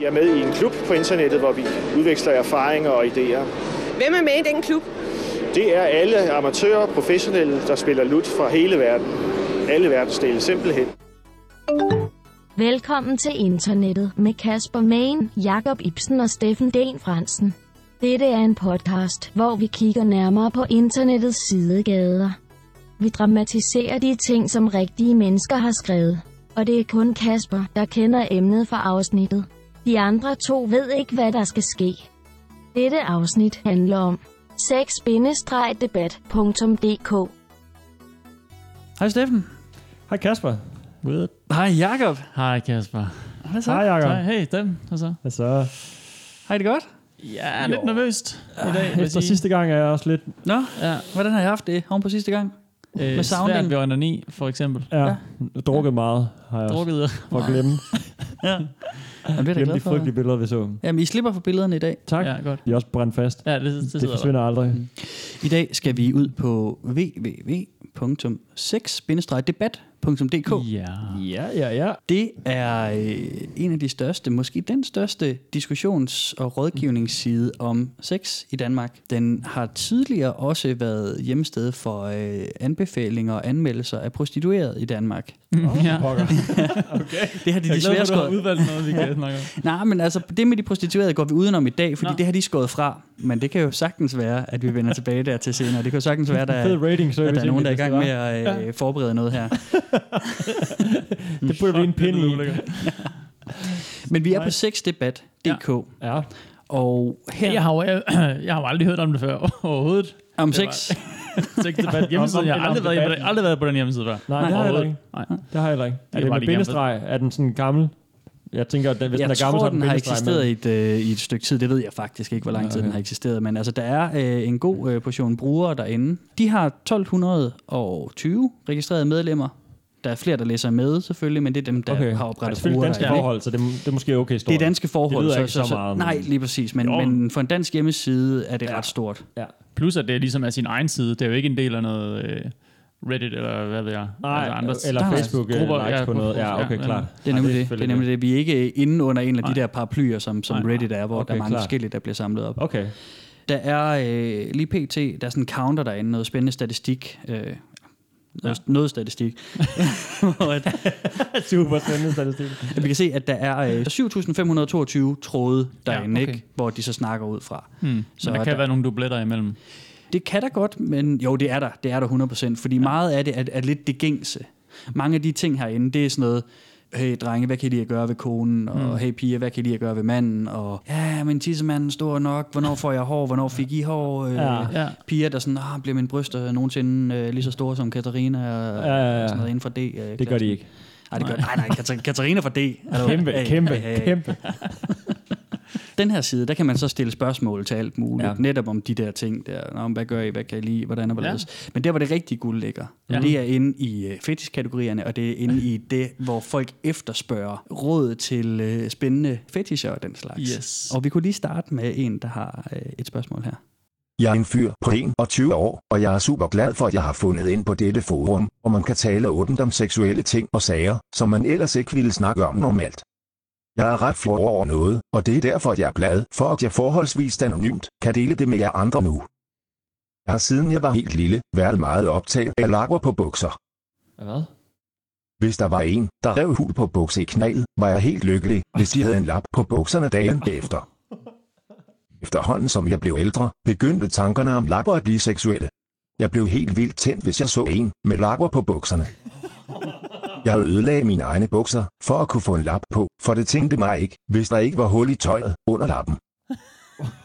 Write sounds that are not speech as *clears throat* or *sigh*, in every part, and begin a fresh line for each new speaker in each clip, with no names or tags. Jeg er med i en klub på internettet, hvor vi udveksler erfaringer og idéer.
Hvem er med i den klub?
Det er alle amatører og professionelle, der spiller lut fra hele verden. Alle verdensdele simpelthen.
Velkommen til internettet med Kasper Main, Jakob Ibsen og Steffen Den Fransen. Dette er en podcast, hvor vi kigger nærmere på internettets sidegader. Vi dramatiserer de ting, som rigtige mennesker har skrevet. Og det er kun Kasper, der kender emnet for afsnittet. De andre to ved ikke, hvad der skal ske. Dette afsnit handler om 6-debat.dk.
Hej Steffen.
Hej Kasper. Ved.
Hej Jakob.
Hej Kasper.
Hvad så?
Hej, Jakob.
Så, Hey Steffen. Hvad så?
Altså,
Har I det godt?
Ja, lidt nervøst i dag. vil jeg
efter
sige.
sidste gang er jeg også lidt...
Nå,
Ja,
hvordan har I haft det oven på sidste gang?
øh,
Med
med
sounding.
svært ved onani, for eksempel.
Ja,
Ja.
ja. drukket meget, har jeg også.
Drukket.
For at glemme,
Jamen, det er jeg da
glemme
glad
de
for.
frygtelige billeder, vi så.
Jamen, I slipper for billederne i dag.
Tak. Ja.
Ja, godt.
Vi er også brændt fast.
Ja, det, det,
Det,
sidder der.
forsvinder aldrig.
I dag skal vi ud på www.6-debat.dk.
Ja.
Ja, ja, ja.
Det er øh, en af de største, måske den største diskussions- og rådgivningsside om sex i Danmark. Den har tidligere også været hjemsted for øh, anbefalinger og anmeldelser af prostitueret i Danmark.
ja.
Det har de
Jeg er glad
desværre
for, at du
skåret
har udvalgt noget, vi kan snakke om.
Nej, men altså, det med de prostituerede går vi udenom i dag, fordi Nå.
Nå.
det har de skåret fra. Men det kan jo sagtens være, at vi vender tilbage der til senere. Det kan jo sagtens være, at der,
Fed
er-
rating
at
service.
der er nogen, der er i
egentlig,
gang med
hvis det
at øh, forberede noget her.
var. Det burde blive en pind i.
Men vi er på sexdebat.dk,
Ja.
og her
Jeg har, jo, jeg, jeg har jo aldrig hørt om det før overhovedet.
om
det var-
sex,
Sex debat hjemmeside. Jeg har aldrig været, jeg har aldrig været på den hjemmeside før.
Nej, det har jeg heller
Overhovedet.
ikke.
Nej.
Det har jeg heller ikke. Er
er
det
bare
med
lige gammel.
bindestreg? Er den sådan gammel? Jeg tænker, at den, hvis
jeg
den er gammel,
tror,
så er den,
den har
bindestreg med.
eksisteret i et, øh, i et stykke tid. Det ved jeg faktisk ikke, hvor lang tid
Okay.
den har eksisteret. Men altså, der er øh, en god øh, portion brugere derinde. De har 1220 registrerede medlemmer. Der er flere, der læser med selvfølgelig, men det er dem, der
Okay.
har
Ja,
oprettet
selvfølgelig
brugere.
danske
derinde, ikke?
forhold, så det, det er måske okay stort.
Det er danske forhold.
Det lyder
så,
ikke
så,
så meget,
Så,
men-
nej, lige præcis. Men,
Jo.
men for en dansk hjemmeside er det ja. ret stort.
Plus at det ligesom er sin egen side. Det er jo ikke en del af noget øh, Reddit eller hvad ved jeg. Altså
Nej, eller
der er
Facebook
grupper,
grupper, likes
ja,
på noget. Ja,
ja,
okay,
ja.
klart.
Det er
Ej,
nemlig det. Det er
selvfølgelig
nemlig det. Vi er ikke inde under en af de
Nej.
der paraplyer, som, som
Nej, nej.
Reddit er, hvor
Okay,
der er mange
klart.
forskellige, der bliver samlet op.
Okay. *laughs*
Der er øh, lige pt. Der er sådan en counter derinde, noget spændende statistik. Øh, noget, noget statistik. Hvor at-
Super spændende statistik.
at vi kan se, at der er øh, 7.522 tråde derinde,
Ja,
ja,
okay.
okay. ikke, hvor de så snakker ud fra.
Hmm. Så
Så
der kan
der-
være nogle dubletter imellem.
Det kan der godt, men jo, det er der. Det er der 100%, fordi ja. meget af det er, er lidt det gængse. Mange af de ting herinde, det er sådan noget, hey drenge, hvad kan I lide at gøre ved konen? Og
Mm.
hey piger, hvad kan I lide at gøre ved manden? Og ja, men tissemanden stor nok, hvornår får jeg hår, hvornår fik I hår? Øh,
Ja.
ja.
Ja.
Piger, der sådan, ah, bliver min bryster nogensinde øh, lige så store som Katarina? Og,
Ja, ja, ja.
og sådan noget inden for D. Øh,
Det gør de ikke.
Nej, det gør, nej, nej, Katar- Katarina
*laughs*
for D. Altså,
Kæmpe,
hey,
kæmpe,
hey, hey.
kæmpe.
Den her side, der kan man så stille spørgsmål til alt muligt.
Ja.
Ja. Netop om de der ting der. Nå, men hvad gør I? Hvad kan I lide? Hvordan er det? Ja. Men der, hvor det rigtige guld ligger,
Ja.
ja. det er inde i øh, fetishkategorierne, og det er inde i det, hvor folk efterspørger råd til øh, spændende fetisher og den slags.
Yes.
Og vi kunne lige starte med en, der har øh, et spørgsmål her.
Jeg er en fyr på 21 år, og jeg er super glad for, at jeg har fundet ind på dette forum, hvor man kan tale åbent om seksuelle ting og sager, som man ellers ikke ville snakke om normalt. Jeg er ret flov over noget, og det er derfor, at jeg er glad for, at jeg forholdsvis anonymt kan dele det med jer andre nu. Jeg har siden jeg var helt lille, været meget optaget af lakker på bukser.
Hvad?
Hvis der var en, der rev hul på bukse i knæet, var jeg helt lykkelig, hvis de havde en lap på bukserne dagen efter. Efterhånden som jeg blev ældre, begyndte tankerne om lapper at blive seksuelle. Jeg blev helt vildt tændt, hvis jeg så en med lapper på bukserne. Jeg ødelagde mine egne bukser, for at kunne få en lap på, for det tænkte mig ikke, hvis der ikke var hul i tøjet under lappen.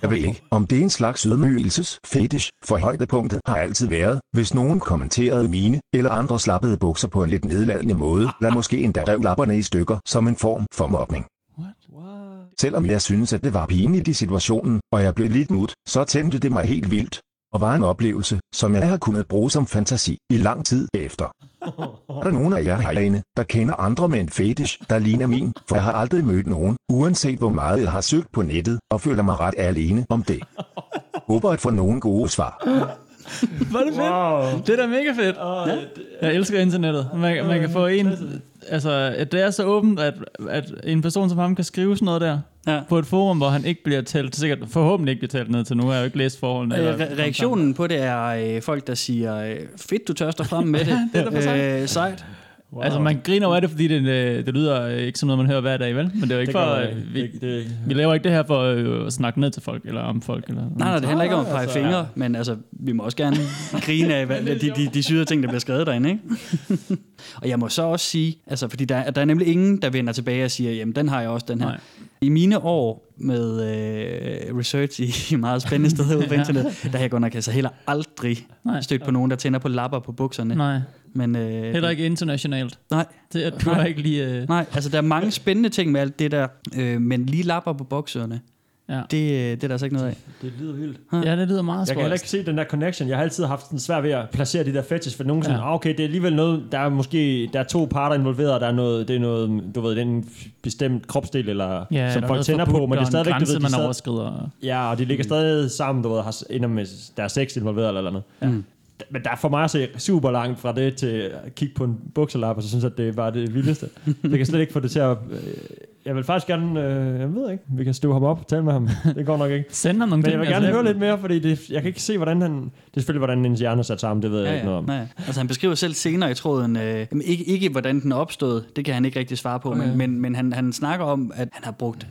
Jeg ved ikke, om det er en slags ydmygelses fetish, for højdepunktet har altid været, hvis nogen kommenterede mine eller andre slappede bukser på en lidt nedladende måde, eller måske endda rev lapperne i stykker som en form for mobning. Selvom jeg synes, at det var pinligt i situationen, og jeg blev lidt mut, så tændte det mig helt vildt, og var en oplevelse, som jeg har kunnet bruge som fantasi i lang tid efter. Er der nogen af jer herinde, der kender andre med en fetish, der ligner min, for jeg har aldrig mødt nogen, uanset hvor meget jeg har søgt på nettet, og føler mig ret alene om det. Håber at få nogle gode svar.
Var det fedt? Wow. Det er da mega fedt. Oh, ja.
øh,
Jeg elsker internettet. Man, man kan få en... Altså, at det er så åbent, at, at en person som ham kan skrive sådan noget der.
Ja.
på et forum, hvor han ikke bliver talt, sikkert forhåbentlig ikke bliver talt ned til nu, har jeg jo ikke læst forholdene.
Øh,
eller-
re- reaktionen på det er øh, folk, der siger, øh, fedt, du tørster frem *laughs* med det. det er da sejt. Øh, sejt.
Wow.
Altså, man griner over det, fordi det, øh, det lyder øh, ikke som noget, man hører hver dag, vel? Men det er jo ikke
det
for...
gør,
øh,
øh,
vi,
det, det,
vi laver ikke det her for øh, at snakke ned til folk, eller om folk, eller...
Nej, nej, det handler ikke om at pege
altså,
fingre, men altså, vi må også gerne grine af hvad, de, de, de syrede ting, der bliver skrevet derinde, ikke? og jeg må så også sige, altså, fordi der, er- der er nemlig ingen, der vender tilbage og siger, jamen, den har jeg også, den her.
Nej.
Nej. I mine år med øh, research i, i meget spændende steder ude på internettet, der har jeg godt nok altså heller aldrig
Nej.
Nej. stødt på nogen, der tænder på lapper på bukserne.
Nej,
Men, øh,
heller ikke internationalt.
Nej,
Det er, du har ikke lige... Øh,
Nej, altså der er mange spændende ting med alt det der, øh, men lige lapper på bokserne,
Ja.
det, øh, det er der altså ikke noget af.
det lyder vildt.
ja, det lyder meget
Jeg kan heller
spøjst.
ikke se den der connection. Jeg har altid haft sådan svært ved at placere de der fetches, for nogen sådan, ja. okay, det er alligevel noget, der er måske, der er to parter involveret, og der er noget, det er noget, du ved, den bestemt kropsdel, eller
Ja,
som
der
folk
noget
tænder på,
forbudt,
men det
og
er
en
stadigvæk, du
grænse,
ved, de
man
stadig,
overskrider.
ja, og de ligger stadig sammen, du ved, har, ender med, der er sex involveret eller noget. Ja. Men der er for mig at se super langt fra det til at kigge på en bukselap, og så synes jeg, at det var det vildeste. det kan slet ikke få det til at... Øh, jeg vil faktisk gerne... Øh, jeg ved ikke, vi kan støve ham op og tale med ham. Det går nok ikke. *laughs*
Send ham nogle
Men
ting.
jeg vil gerne
altså,
høre lidt mere, fordi det, jeg kan ikke se, hvordan han... Det er selvfølgelig, hvordan hendes hjerne er sat sammen, det ved jeg ja, ikke noget om.
Nej. Altså han beskriver selv senere i tråden, øh, jamen, ikke, ikke hvordan den er opstået, det kan han ikke rigtig svare på, okay. men, men, men han, han snakker om, at han har brugt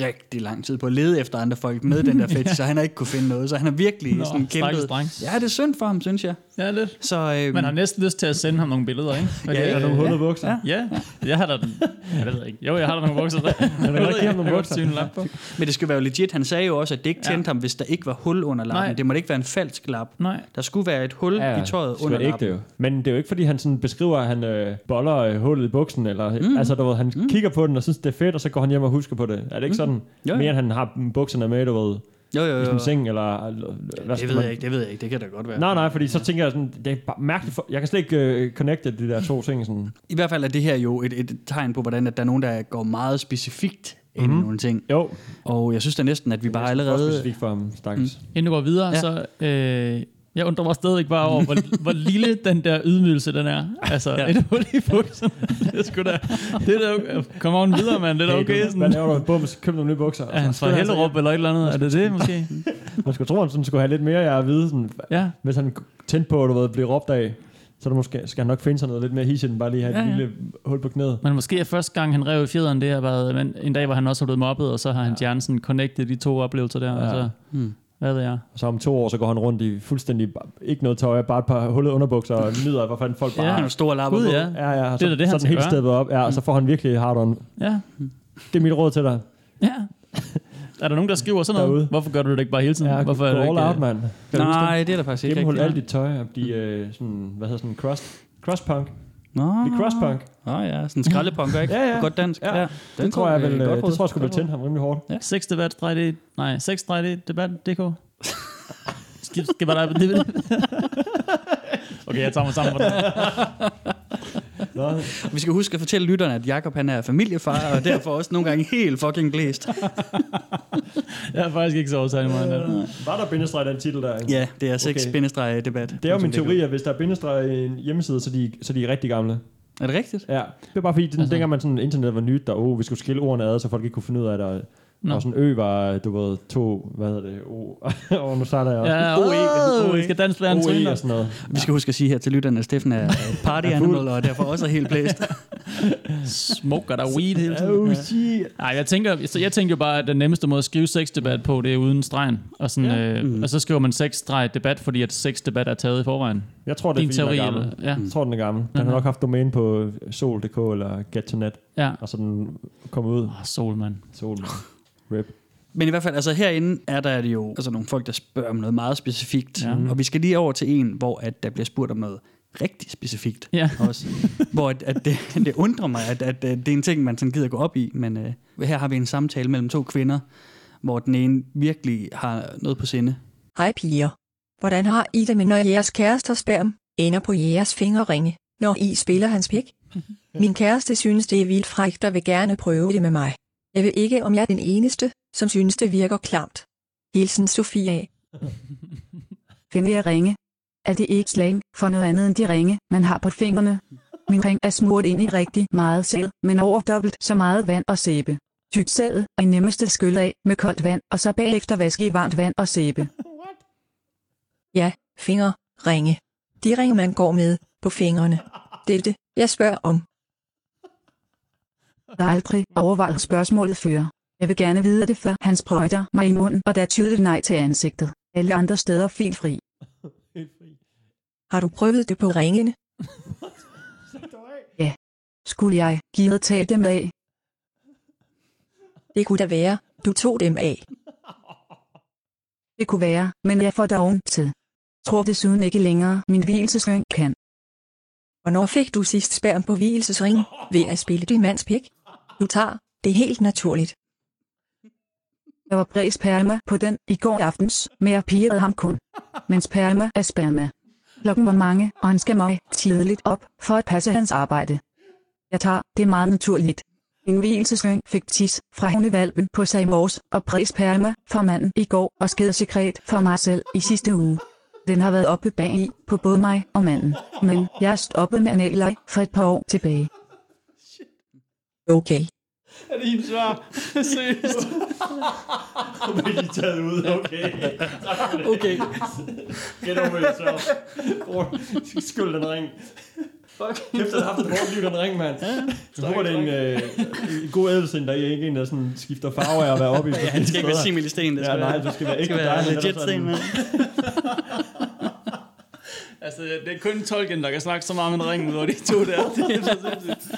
rigtig lang tid på at lede efter andre folk med den der fetish, så han har ikke kunne finde noget, så han har virkelig
Nå,
Nå, sådan
stakkels
kæmpet.
dreng.
Ja, det er synd for ham, synes jeg.
Ja, lidt.
Så, øh,
Man har næsten lyst til at sende ham nogle billeder, ikke? Hvad
Ja,
kan-
Er der nogle
Øh,
hullede bukser? Ja.
ja.
Ja, jeg har da den. Ja, det ved jeg ikke. Jo, jeg har da nogle bukser der. Jeg
godt give ham nogle
Jeg kan godt
bukser.
syne en lap på.
men det skal være jo legit. Han sagde jo også, at det ikke tændte ja. ham, hvis der ikke var hul under lappen.
Nej.
Nej. Det måtte ikke være en falsk lap.
Nej.
Der skulle være et hul ja, i tøjet
det skal
under
være
lappen.
ægte jo. Men det er jo ikke, fordi han sådan beskriver, at han øh, boller øh, hullet i buksen, eller, mm. altså, du ved, han mm. kigger på den og synes, det er fedt, og så går han hjem og husker på det. Er det ikke sådan,
Jo,
jo,
jo.
mere end han har mm, bukserne med, du ved,
Jo, jo,
i
jo.
sin seng, eller... øh, Hvad
Det ved jeg ikke, det ved jeg ikke. Det kan da godt være.
Nej, nej, fordi så tænker jeg sådan, det er bare mærkeligt. For, jeg kan slet ikke øh, connecte de der to ting. Sådan.
I hvert fald er det her jo et, et tegn på, hvordan at der er nogen, der går meget specifikt ind
Mhm.
i nogle ting.
Jo,
Og jeg synes da næsten, at vi bare
for
allerede...
specifikt for ham, stakkels. Mm.
Inden du går videre, ja.
Ja.
så... Øh, jeg undrer mig stadig bare over, hvor, hvor lille den der ydmygelse, den er. Altså, ja. et hul i bukserne. Det er sgu da... Det er da okay. Kom on videre, mand. Det er da okay.
Hvad
Sådan.
laver du? Bums, køb nogle nye bukser.
Er han fra Hellerup eller et eller andet? Er det det, måske?
Man skulle tro, at han sådan skulle have lidt mere af at vide, sådan,
Ja.
hvis han tændte på, at du ved, blive råbt af, så er der måske, skal han nok finde sig noget lidt mere hisigt, end bare lige have ja,
Ja,
et
ja.
ja. lille hul på knæet.
Men måske er første gang, han rev i fjederen, det har været men en dag, hvor han også er blevet mobbet, og så har hans hjerne sådan connected de to oplevelser der. Ja. Og så,
Hmm.
hvad ved jeg?
Og så om to år, så går han rundt i fuldstændig ba- ikke noget tøj, bare et par hullede underbukser og nyder, hvor fanden folk bare...
Ja, nogle store lapper
Gud,
på.
ja.
ja, ja
er
så,
da det, han
så er
skal
den helt
gøre.
steppet op, ja, og så får han virkelig hard on.
Ja.
Det er mit råd til dig.
Ja. Er der nogen, der skriver sådan noget?
Derude.
Hvorfor gør du det ikke bare hele tiden?
Ja,
Hvorfor
gå
du
all
ikke, øh,
out, mand. Kan du huske det?
Nej, det er der faktisk ikke
Gennemhul alt
rigtigt.
dit tøj og blive øh, sådan, hvad hedder sådan, cross, crosspunk.
Nå,
Blive crosspunk.
Nå ja, sådan en skraldepunker, ikke?
Ja, ja.
På Godt dansk.
Ja.
Ja.
Det, det tror jeg vel, øh, det tror jeg sgu vil
tænde.
tænde ham rimelig hårdt.
øh, Sexdebat, 3D, nej, 6-3D, debat.dk. Skib, skib bare dig på det. *laughs* Okay, jeg tager mig sammen for det.
Nå,
Vi skal huske at fortælle lytterne, at Jakob han er familiefar, og derfor også nogle gange helt fucking blæst.
Jeg har faktisk ikke sovet særlig meget. Øh.
var der bindestreg i den titel der? egentlig?
Ja, det er sex
Okay.
okay. debat
Det er jo min teori, at hvis der er bindestreg i en hjemmeside, så er de, så er de rigtig gamle.
Er det rigtigt?
Ja. Det er bare fordi, den, altså. dengang man sådan, internet var nyt, der oh, vi skulle skille ordene ad, så folk ikke kunne finde ud af det. og-
Nå.
Og sådan ø var, du ved, to, hvad hedder det, o. *laughs* og nu starter jeg også.
Ja, oh, vi skal danse lære en
OE
tryner.
og sådan noget.
Vi skal huske at sige her til lytterne, at Steffen
*laughs*
er øh, party animal, og derfor også er helt blæst.
Smoker der weed hele tiden.
Oh, shit.
Nej, jeg tænker, så jeg tænker jo bare, at den nemmeste måde at skrive sexdebat på, det er uden stregen. Og, sådan, ja. øh, og så skriver man sex-debat, fordi at sexdebat er taget i forvejen.
Jeg tror, det er,
Din
fordi den er
teori,
gammel.
eller? Ja. Mhm.
Jeg tror, den er gammel. Den har nok haft domæne på sol.dk eller get2net,
ja.
og så den kom ud.
Oh, sol, mand.
Sol. Rip.
Men i hvert fald, altså herinde er der jo altså nogle folk, der spørger om noget meget specifikt.
Ja.
Ja. Og vi skal lige over til en, hvor at der bliver spurgt om noget rigtig specifikt.
Ja.
Også, hvor at, at det, *laughs* det undrer mig, at, at, øh, det er en ting, man sådan gider gå op i. Men øh, her har vi en samtale mellem to kvinder, hvor den ene virkelig har noget på sinde.
Hej piger. Hvordan har I det med, når jeres kærester sperm ender på jeres fingerringe, når I spiller hans pik? Min kæreste synes, det er vildt frækt og vil gerne prøve det med mig. Jeg ved ikke, om jeg er den eneste, som synes, det virker klamt. Hilsen Sofie
*laughs*
A.
Finde jeg ringe. Er det ikke slang for noget andet end de ringe, man har på fingrene? Min ring er smurt ind i rigtig meget sæd, men over dobbelt så meget vand og sæbe. Tyk selv og i nemmeste skyld af med koldt vand, og så bagefter vaske i varmt vand og sæbe.
Ja, fingre, ringe. De ringe, man går med på fingrene. Det er det, jeg spørger om.
Der er aldrig overvejet spørgsmålet før. Jeg vil gerne vide det før han sprøjter mig i munden, og der er tydeligt nej til ansigtet. Alle andre steder filfri.
Har du prøvet det på ringene?
Skulle jeg give tage dem af?
Det kunne da være, du tog dem af.
Det kunne være, men jeg får doven til. Tror desuden ikke længere, min hvilesesring kan.
Hvornår fik du sidst spærm på hvilesesringen ved at spille din mands pik? Du tager, det er helt naturligt.
Der var bred sperma på den i går aftes, men jeg pirrede ham kun. Men sperma er sperma. Klokken var mange, og han skal mig tidligt op for at passe hans arbejde. Jeg tager det meget naturligt. En hvilesesring fik tis fra hundevalpen på sig i morges, og bred sperma fra manden i går, og sked sekret for mig selv i sidste uge. Den har været oppe bag i på både mig og manden, men jeg er stoppet med analleg for et par år tilbage.
Okay.
Er det hendes svar? Seriøst?
Det er de taget ud, okay.
Okay.
Get over yourself. Bror, skyld den ring. Fuck. Kæft, han har haft et hårdt liv, den ring, mand. Jeg håber, det er en, øh, en god ædelsen, der ikke er en, der sådan skifter farve af at være oppe i
Ja, han skal ikke være simil i sten, det
Ja,
skal
nej,
være-
du skal være
det
ægte
skal være
dejlig,
legit
ellers er
sten,
den-
mand.
Altså, det er kun tolken, der kan snakke så meget om en ring, hvor de to der. Det er så sindssygt.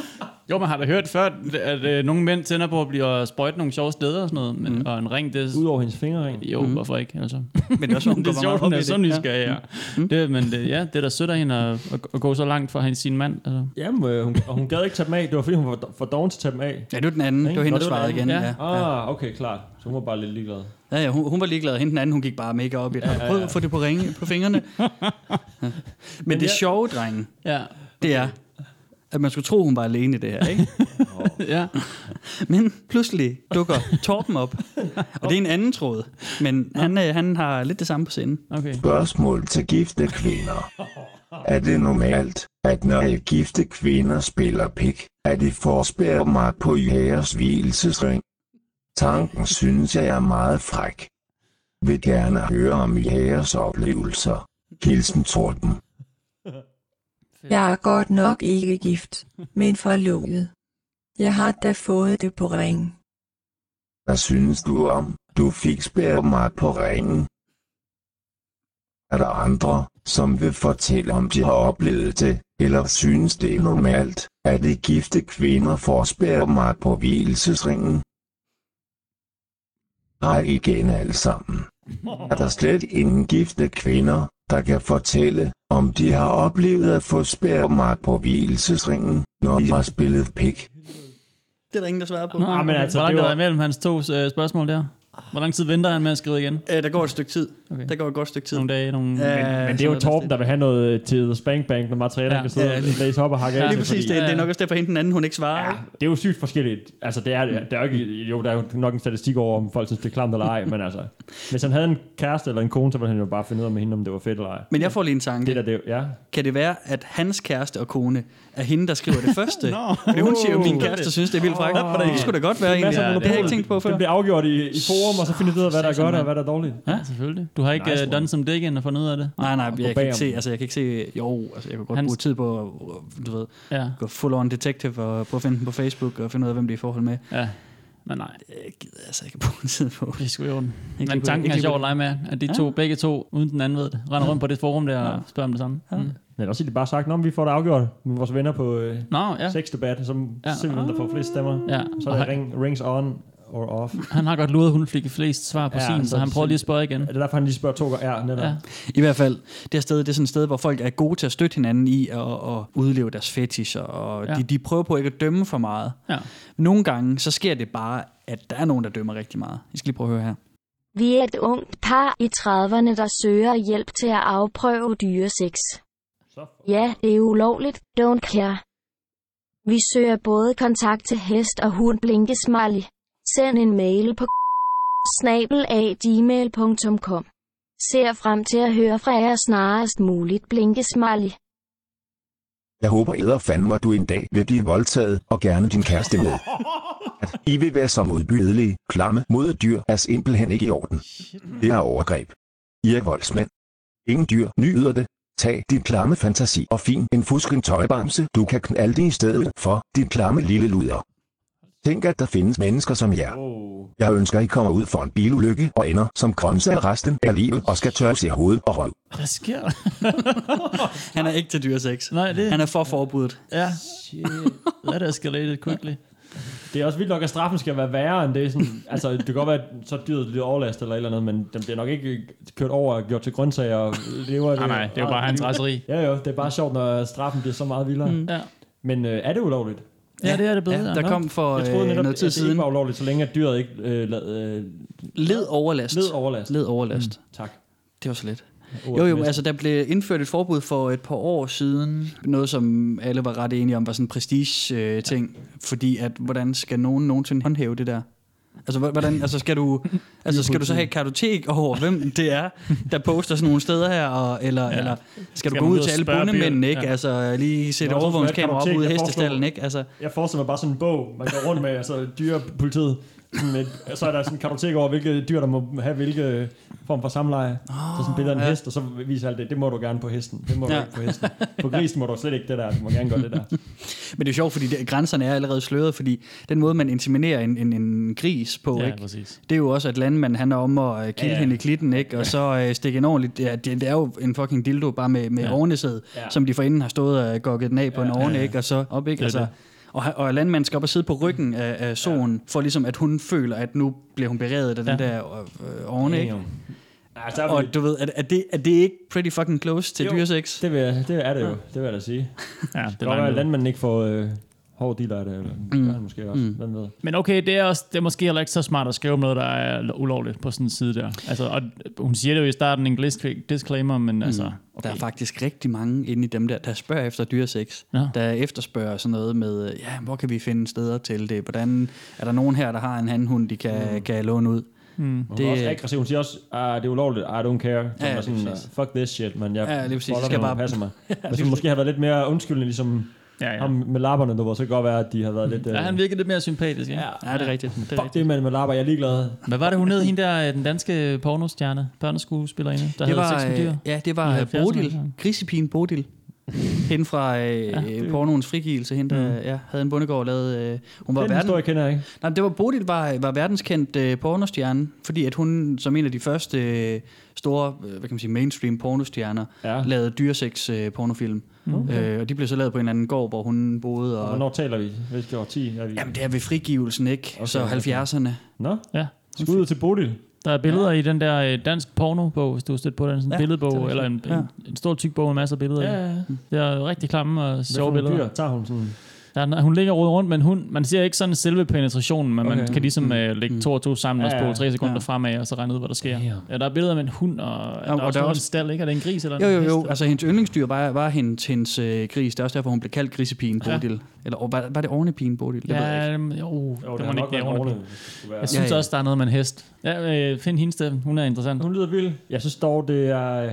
jo, man har da hørt før, at øh, nogle mænd tænder på at blive sprøjtet nogle sjove steder og sådan noget, men, mm. og en ring, det er...
Udover hendes fingerring.
Jo, mm. hvorfor ikke? *laughs* Altså.
Men det er også, hun
det er
går meget
sjovt,
op
hun
i
er
det.
så nysgerrig, ja. Mm. Det, men det, ja, det er da sødt af hende at, at, at, gå så langt for hendes sin mand. Altså.
Jamen, øh, hun, og hun gad ikke tage dem af. Det var fordi, hun var for doven til at tage dem af.
Ja, det var den anden. Det var hende,
Nå,
der
det var
svarede
den
igen.
anden,
Ja.
Ah, okay, klart. Så hun var bare lidt ligeglad.
Ja, ja, hun, hun var ligeglad. Hende den anden, hun gik bare mega op i det. Har du prøvet at få det på, ringe, på
*laughs*
fingrene? Ja. Men det
jeg-
sjove, drenge,
Ja.
det er, at man skulle tro, hun var alene i det her,
*laughs*
ikke?
ja.
Men pludselig dukker Torben op. Og det er en anden tråd. Men han, øh, han har lidt det samme på sinde.
Okay.
Spørgsmål til gifte kvinder. Er det normalt, at når jeg gifte kvinder spiller pik, at de forspærer mig på jeres hvilesesring? Tanken synes jeg er meget fræk. Vil gerne høre om jeres oplevelser. Hilsen Torben.
Jeg er godt nok ikke gift, men forlovet. Jeg har da fået det på ringen.
Hvad synes du om, du fik spærret mig på ringen? Er der andre, som vil fortælle om de har oplevet det, eller synes det er normalt, at de gifte kvinder får spærret mig på hvilesesringen? Hej igen alle sammen. Er der slet ingen gifte kvinder, der kan fortælle, om de har oplevet at få spærret mig på hvilesesringen, når I har spillet pik?
Det er der ingen, der svarer på.
Nå,
Ah, men altså,
Hvor
det
langt er
var-
der imellem hans to øh, spørgsmål der? Hvor lang tid venter han med at skrive igen?
Øh, der går et stykke tid.
Okay.
Okay. Der går et godt stykke tid.
Nogle dage, nogle...
Ja,
Men det er jo
sådan noget
Torben, der vil have noget øh, til Spank Bank, når materialet
Ja.
ja. kan sidde
Ja,
og
lige-
læse op og hakke
Ja,
af.
Lige
til,
præcis,
fordi-
det, det
ja.
er nok også derfor, at hende den anden, hun ikke svarer.
Ja,
ikke?
det er jo sygt forskelligt. Altså, det er, det er jo ikke, jo, der er jo nok en statistik over, om folk synes, det er klamt eller ej, men altså, hvis han havde en kæreste eller en kone, så ville han jo bare finde ud af med hende, om det var fedt eller ej.
Men jeg får lige en tanke.
Det der, det er jo- ja.
Kan det være, at hans kæreste og kone er hende, der skriver
*laughs*
det første? no. Fordi hun siger jo, min kæreste synes, det er vildt frækt. Oh. Det skulle da godt være egentlig.
Masser
Ja,
af
det har jeg ikke tænkt på før.
Det bliver afgjort i, i forum, og så finder vi ud af, hvad der er godt og hvad der er dårligt.
Ja, selvfølgelig. Du har ikke
Nice
nice
one.
done som Dickens og fundet ud af det?
Nej, nej, jeg kan,
bagom.
ikke se, altså, jeg kan ikke se, jo, altså, jeg kan godt
Hans-
bruge tid på at du ved,
Ja.
gå full on detective og prøve at finde dem på Facebook og finde ud af, hvem de er i forhold med.
Ja. Men nej,
Jeg gider altså ikke bruge *laughs* tid på.
det er sgu i orden.
Ikke
Men
lige på-
tanken
ikke
er
lige på
sjov at
det.
lege med, at de to, begge to, uden den anden ved det, render rundt på det forum der og spørger om det samme. Ja. Mm.
Men også egentlig bare sagt, at vi får det afgjort med vores venner på øh,
Nå, ja.
sexdebat, som
Ja.
simpelthen der får flest stemmer.
ja.
Så
Og
er der
han,
ring, rings on or off.
han har godt luret, hun fik flest svar på
Ja,
sin,
så
så han
det
prøver lige at
sind-
spørge igen.
Er det derfor, han lige spørger to gange? Ja, netop.
Ja.
Ja.
I hvert fald, det her sted, det er sådan et sted, hvor folk er gode til at støtte hinanden i at, at udleve deres fetischer, og
Ja.
ja. de, de prøver på ikke at dømme for meget.
Ja.
Nogle gange, så sker det bare, at der er nogen, der dømmer rigtig meget. I skal lige prøve at høre her.
Vi er et ungt par i 30'erne, der søger hjælp til at afprøve dyresex.
Så
Ja, det er ulovligt. Don't care. Vi søger både kontakt til hest og hund blinkesmiley. Send en mail på snabelagmail.com. Ser frem til at høre fra jer snarest muligt blinkesmiley.
Jeg håber æder fandme, at du en dag vil blive voldtaget og gerne din kæreste med. At I vil være så modbydelige, klamme mod et dyr er simpelthen ikke i orden. Det er overgreb. I er voldsmænd. Ingen dyr nyder det. Tag din klamme fantasi og fin en fusken tøjbamse, du kan knalde det i stedet for din klamme lille luder. Tænk, at der findes mennesker som jer.
Oh.
Jeg ønsker, I kommer ud for en bilulykke og ender som grøntsager resten af livet og skal tørres i hovedet og røv.
Hvad sker *laughs* der?
Han er ikke til dyresex.
Nej, det,
Han er for forbuddet.
ja. Shit. That escalated quickly.
Det er også vildt nok, at straffen skal være værre end
*laughs*
det. Sådan, altså, det kan godt være, at så er dyret lidt overlast eller et eller andet, men dem bliver nok ikke kørt over og gjort til grøntsager og lever...
Ah, Nej, nej, det er jo bare hans raseri.
Ja, jo, det er bare sjovt, når straffen bliver så meget vildere. Mm.
Ja.
Men øh, er det ulovligt?
ja, det er det bedre.
Ja, der
Nå.
kom for
Jeg troede
øh,
netop,
noget tid
at det ikke
siden
var ulovligt, så længe at dyret ikke øh, lad, øh,
led overlast.
led overlast.
Led overlast.
Tak.
Det var så lidt.
Ordet
Jo, jo,
mester.
altså der blev indført et forbud for et par år siden. Noget, som alle var ret enige om, var sådan en prestige-ting. Fordi at, hvordan skal nogen nogensinde håndhæve det der? Altså, hvor- hvordan, altså, skal, du, altså skal du så have et kartotek over, hvem det er, der poster sådan nogle steder her? Og, eller, ja. eller skal, skal du
man
gå
ud
ud
og
til alle
spørge
bundemændene,
dyret?
ikke?
Ja.
Altså lige sætte
Nå, så
overvågningskamera op
skal jeg
ude i
foreslå-
hestestallen, ikke? Altså,
Jeg forestiller mig bare sådan en bog, man går rundt med, altså dyrepolitiet. Sådan et, så er der sådan en kartotek over, hvilke dyr, der må have hvilke øh, form for samleje. Oh, så sådan billeder af en ja. hest, og så viser alt det. Det må du gerne på hesten. Det må ja.
Ah, Ja.
du ikke på hesten. På grisen må du slet ikke det der. Du må gerne gøre det der.
men det er sjovt, fordi det, grænserne er allerede sløret, fordi den måde, man intimiderer en, en, en gris på,
Ja,
ikke?
præcis.
Det er jo også, at landmanden han er om at øh, kilde
Ja,
ja,
ja.
ja. hende i klitten, ikke? og så øh, stikke en ordentlig... Ja, det, det er jo en fucking dildo bare med, med
Ja.
ja. overnæsset,
Ja.
ja. som de forinden har stået og gokket den af på ja, en ovne,
ja.
ikke? og så op, ikke?
Det er
Altså,
det.
og, ha- og landmanden skal op og sidde på ryggen af, af soen, ja. for ligesom at hun føler, at nu bliver hun beredet af ja. den
Ja.
der øh, øh, ovne, ikke?
Ja, Ah, så er vi,
Og du ved, er, er, det, er det ikke pretty fucking close til
Jo.
dyresex?
det, vil jeg, det er det jo. Det vil jeg da sige.
Ja,
Det kan
det
godt
er
være, at
langt
landmanden ikke får øh, hård dealer af det. Eller, mm. gør han måske også. Mm. Hvem ved.
Men okay, det er, også, det er måske heller ikke så smart at skrive om noget, der er ulovligt på sådan en side der. Altså, og hun siger det jo i starten, en glis- disclaimer, men mm. altså...
Okay. Der er faktisk rigtig mange inde i dem der, der spørger efter dyresex.
Ja.
Der efterspørger sådan noget med, øh, ja, hvor kan vi finde steder til det? Hvordan, er der nogen her, der har en handhund, de kan, mm. kan låne ud? Mm.
Hun det, er også aggressiv. Hun siger også, ah, det er ulovligt. I don't care. Så
Ja,
ja, er
lige
sådan,
præcis.
fuck this shit, men jeg
*laughs* Ja, lige præcis.
boller
Jeg skal
mig,
bare-
passer mig. Hvis hun måske havde været lidt mere undskyldende, ligesom
Ja,
ja.
ja.
ham med lapperne, du ved, så kan det godt være, at de har
Mhm.
været lidt...
ja, han virkede lidt mere sympatisk, ikke?
Ja.
Ja, det er rigtigt. Det er
Fuck
rigtigt.
det med, med lapper, jeg er ligeglad.
Hvad var det, hun hed, hende der, øh, den danske pornostjerne, børneskuespillerinde, der
Det
havde sex
var,
med dyr?
øh, ja, det
I
var øh,
70'erne.
Bodil, grisepigen Bodil. Hende fra øh, ja, pornoens frigivelse, hende der ja, havde en bondegård lavet... Øh, hun var
Den
verden,
historie kender jeg ikke.
nej, det var Bodil var, var verdenskendt øh, pornostjerne, fordi at hun som en af de første øh, store, øh, hvad kan man sige, mainstream pornostjerner,
Ja.
ja. lavede dyresex øh, pornofilm. Okay. Øh, og de blev så lavet på en eller anden gård, hvor hun boede. Og,
Hvornår taler vi? Hvilket årti er vi?
jamen, det er ved frigivelsen, ikke? Okay, så
okay.
70'erne.
Nå,
Ja.
skud ud til Bodil.
Der er billeder ja. i den der øh, dansk pornobog, hvis du har stødt på den, sådan en
Ja, det er
billedbog,
rigtigt.
eller en,
Ja.
en, en, stor tyk bog med masser af billeder i. Mm.
ja.
Det er rigtig klamme og sjove
Hvad for
billeder.
dyr tager hun sådan?
Der, er- hun ligger og roder rundt, men hun, man ser ikke sådan selve penetrationen, men okay. man
Okay.
kan ligesom mm. øh, lægge to og to sammen og
Ja,
spole
ja.
tre sekunder
Ja.
ja. fremad, og så regne ud, hvad der sker.
Damn.
Ja, der er billeder med en hund, og, ja, der, og er også der er også en stald, ikke? Er det en gris eller
Jo,
en
jo,
hest,
jo.
eller-
Altså, hendes yndlingsdyr var, var hendes, hendes øh, gris. Det er også derfor, hun blev kaldt grisepigen
Ja.
Bodil. Eller og var, var det ovnepigen Bodil? Det ved jeg ikke.
Ja, øhm, jo,
Jo,
jo, det
har
må
nok
ikke blive
været
ordentligt.
Orne, hvis det skulle være.
Jeg synes
Ja, ja.
også, der er noget med en hest. Ja, øh, find hende, Steffen. Hun er interessant.
Hun lyder vild. Jeg synes dog, det er... øh,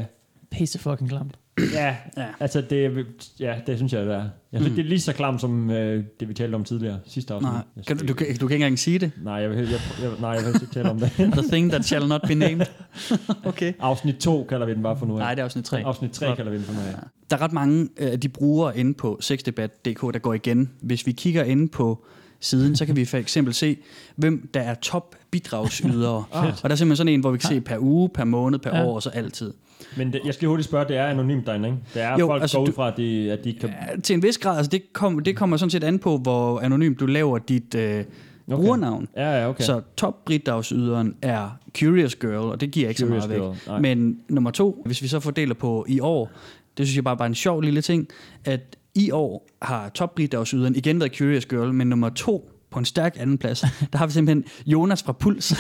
Pisse fucking
*laughs*
klamt.
Ja,
Ja.
altså det, er- ja, det synes jeg, det er. Jeg synes, mm. det er lige så klamt som øh, det, vi talte om tidligere, sidste afsnit.
Nej,
Jeg synes,
kan, du,
det-
du, kan, du kan ikke engang sige det.
Nej, jeg vil, jeg, jeg, nej, jeg vil ikke tale
*laughs*
om det.
The thing that shall not be named. *laughs* Okay.
Afsnit 2 kalder vi den bare for nu af.
Nej, det er afsnit 3.
Afsnit 3 kalder vi den for nu af.
Der er ret mange øh, af de brugere inde på sexdebat.dk, der går igen. Hvis vi kigger inde på siden, så kan vi for eksempel se, hvem der er top bidragsydere. *laughs* og der er simpelthen sådan en, hvor vi kan se per uge, per måned, per
Ja.
år og så altid.
Men det, jeg skal lige hurtigt spørge, det er anonymt derinde, ikke? Det er jo,
Jo,
folk
altså,
altså, går ud
du-
fra, at de, at de ikke kan...
Til en vis grad, altså det, kom, det kommer sådan set an på, hvor anonymt du laver dit øh, brugernavn.
Ja, ja, okay.
Så top britdagsyderen er Curious Girl, og det giver ikke
Curious
så meget
Girl,
væk.
nej.
Men nummer to, hvis vi så fordeler på i år, det synes jeg bare, bare er en sjov lille ting, at i år har top britdagsyderen igen været Curious Girl, men nummer to på på en stærk andenplads, *laughs* der har vi simpelthen Jonas fra Puls. det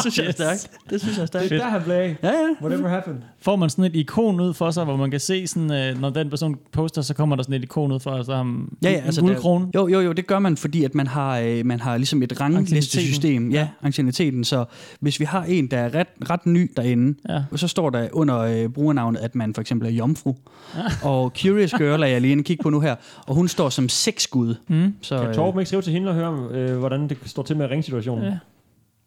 synes jeg er
Yes.
stærkt. Det synes jeg er stærkt.
Det er der, han blev af.
Ja, ja.
Whatever happened.
Får man sådan et ikon ud for sig, hvor man kan se, sådan, øh, når den person poster, så kommer der sådan et ikon ud for sig, så har han
Ja, ja,
en,
altså,
en guldkrone.
Der, jo, jo, jo, det gør man, fordi at man har, øh, man har ligesom et ranglistesystem. Ja, ancienniteten. Så hvis vi har en, der er ret, ret ny derinde,
Ja.
og så står der under øh, brugernavnet, at man for eksempel er jomfru. *laughs* Og Curious Girl er jeg lige inde og kigge på nu her, og hun står som seks gud. Mm. Så,
Kan Torben ikke skrive til hende og høre, om, øh, hvordan det står til med ringsituationen?
Ja.
Ja.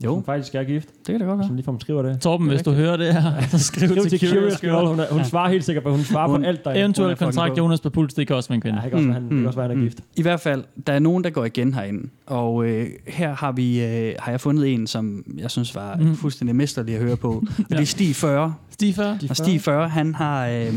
Jo.
Hun faktisk er gift,
det kan da godt
som ligefrem skriver det.
Torben, hvis du hører det her, *laughs* så skriv,
Skriv til Curious Girl.
Girl.
Hun, er, hun svarer helt sikkert, på hun svarer
Hun-
på alt, der
Eventuel
Hun er fucking
kontrakt,
god.
Jonas Papuls, det kan også være en
Ja, det kan også være,
kvinde.
han, det kan også være, han er gift.
I hvert fald, der er nogen, der går igen herinde. Og øh, her har, vi, øh, har jeg fundet en, som jeg synes var mm. fuldstændig mesterlig at høre *laughs* på. Og det er Stig 40.
Stifer?
Og Stig 40, han har... Øh,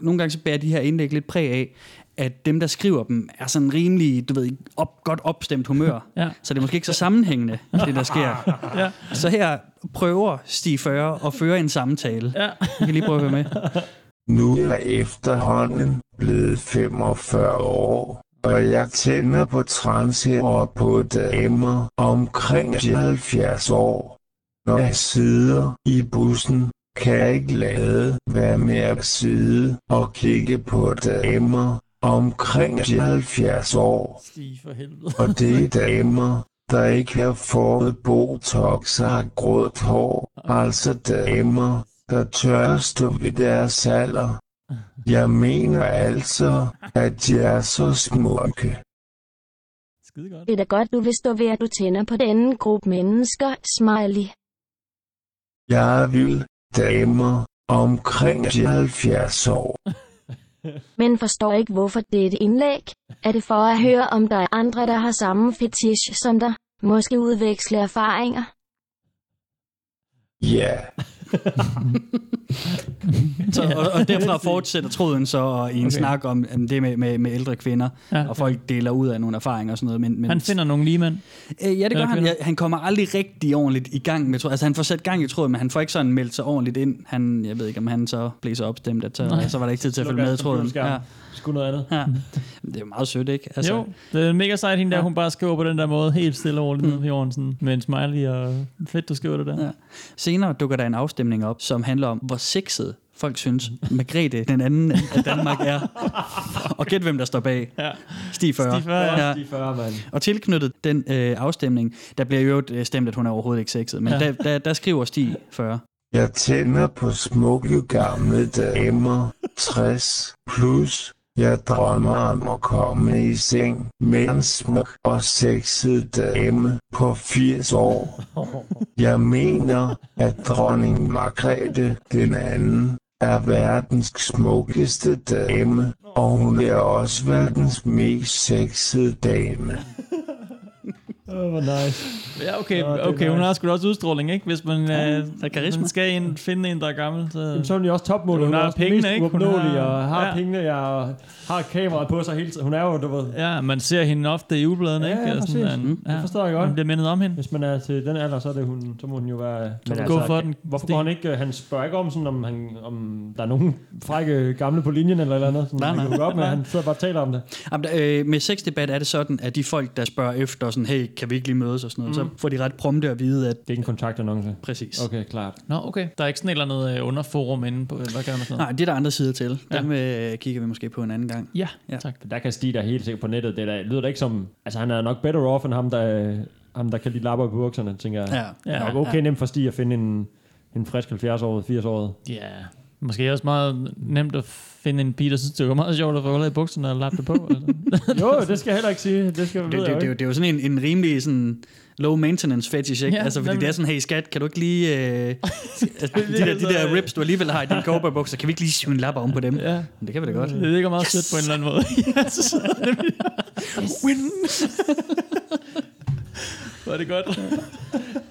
nogle gange så bærer de her indlæg lidt præg af, at dem, der skriver dem, er sådan rimelig, du ved, op, godt opstemt humør.
*laughs* Ja.
Så det er måske ikke så sammenhængende, det der sker.
*laughs* Ja.
Så her prøver Stig 40 at føre en samtale.
Ja.
Vi kan lige prøve at høre
*laughs*
med.
Nu er jeg efterhånden blevet 45 år, og jeg tænder på transe og på damer omkring de 70 år. Når jeg sidder i bussen, kan jeg ikke lade være med at sidde og kigge på damer omkring de 70 år.
Stig for helvede.
Og det er damer, der ikke har fået botox og har gråt hår. Altså damer, der tør stå ved deres alder. Jeg mener altså, at de er så smukke.
Skide godt.
Det er da godt, du vil stå ved, at du tænder på denne gruppe mennesker, smiley.
Jeg vil damer omkring de 70 år.
Men forstår ikke, hvorfor det er et indlæg. Er det for at høre, om der er andre, der har samme fetish som dig? Måske udveksle erfaringer?
Ja,
Så, og, og derfra fortsætter tråden så og i en okay. snak om, om det med, med, med ældre kvinder,
Ja.
ja. og folk deler ud af nogle erfaringer og sådan noget. Men, men,
Han finder nogle lige mænd.
øh, ja, det gør
Eller
han.
kvinder.
Ja, han kommer aldrig rigtig ordentligt i gang med tråden. Altså han får sat gang i tråden, men han får ikke sådan meldt sig ordentligt ind. Han, jeg ved ikke, om han så blev så opstemt, at så, så var der ikke tid til at følge med i tråden. Ja,
Ja. Sku noget andet.
ja. Det er jo meget sødt, ikke?
Altså, Mm-hmm. jo, det er mega sejt, hende der,
Ja.
hun bare skriver på den der måde, helt stille
Mm.
og roligt ned på jorden, sådan, med en smiley, og fedt, du skriver det der.
Ja. Senere dukker der en afstemning op, som handler om, hvor sexet folk synes, Margrethe, den anden af Danmark,
*laughs*
er. Og gæt, hvem der står bag.
Ja.
Stig 40.
Stig 40, ja.
De 40, mand.
Og tilknyttet den øh, afstemning, der bliver jo øh, stemt, at hun er overhovedet ikke sexet, men
Ja.
ja. der, der, der skriver Stig 40.
jeg tænder på smukke gamle damer, 60 plus. Jeg drømmer om at komme i seng med en smuk og sexet dame på 80 år. Jeg mener, at dronning Margrethe den anden er verdens smukkeste dame, og hun er også verdens mest sexede dame.
Åh, hvor nice.
Ja, okay,
Nå, det er
okay hun
nice.
har sgu da også udstråling, ikke? Hvis man, øh,
der er karisma.
man skal en, finde en, der er gammel. Så...
Jamen, så er hun jo også topmålet.
Hun har
også
pengene,
mest
ikke? Hun
uopnåelig
har-
og har
Ja.
pengene, ja, og har kameraet på sig hele tiden. Hun er jo, du ved...
Ja, man ser hende ofte i ugebladene,
Ja,
ikke?
ja,
Og
præcis.
en-
Det forstår jeg godt.
Man bliver mindet om hende.
Hvis man er til den alder, så, er det hun, så må hun jo være... Så må hun
Gå
gå
for den.
Hvorfor går han ikke... øh, Han spørger ikke om, sådan, om, han, om der er nogen frække gamle på linjen eller eller andet. Sådan,
Nej,
nej, nej.
nej.
Han kan gå op med, han sidder bare og taler om det.
Jamen, der, øh, med sexdebat er det sådan, at de folk, der spørger efter, sådan, hey, kan vi ikke lige mødes og sådan noget, mm. så får de ret prompte at vide, at
Det er ikke en kontaktannonce.
præcis. Okay.
Okay, klart.
Nå, okay. Der er ikke sådan et eller andet øh, underforum inde på, hvad gør man sådan noget?
Nej, det er der andre sider til.
Ja.
Dem øh, kigger vi måske på en anden gang.
Ja,
Ja.
tak.
Der kan Stig da helt sikkert på nettet. Det der, lyder da ikke som... Altså, han er nok better off end ham, der, øh, ham, der kan lide lapper på bukserne, tænker jeg.
Ja.
Det er
Ja,
nok okay nemt for Stig at finde en, en frisk 70-årig, 80-årig.
ja. Måske er det også meget nemt at finde en pige, der synes, det var meget sjovt at få huller i bukserne og lappe det på. Altså.
*laughs* Jo, det skal jeg heller ikke sige. Det skal det,
Det,
ved
det, det,
jeg jo
det, er jo-
ikke.
det er jo sådan en, en rimelig sådan, low maintenance fetish, ikke?
Ja,
Ja, altså, fordi
nemlig.
det er sådan, hey skat, kan du ikke lige... Øh, altså, de, der, de der rips, du alligevel har i dine cowboybukser, kan vi ikke lige syge en lap om på dem? Ja.
ja.
Men det kan vi da godt.
*laughs* Det ligger meget yes. sødt på en eller anden måde. yes. *laughs* Win! Var det godt?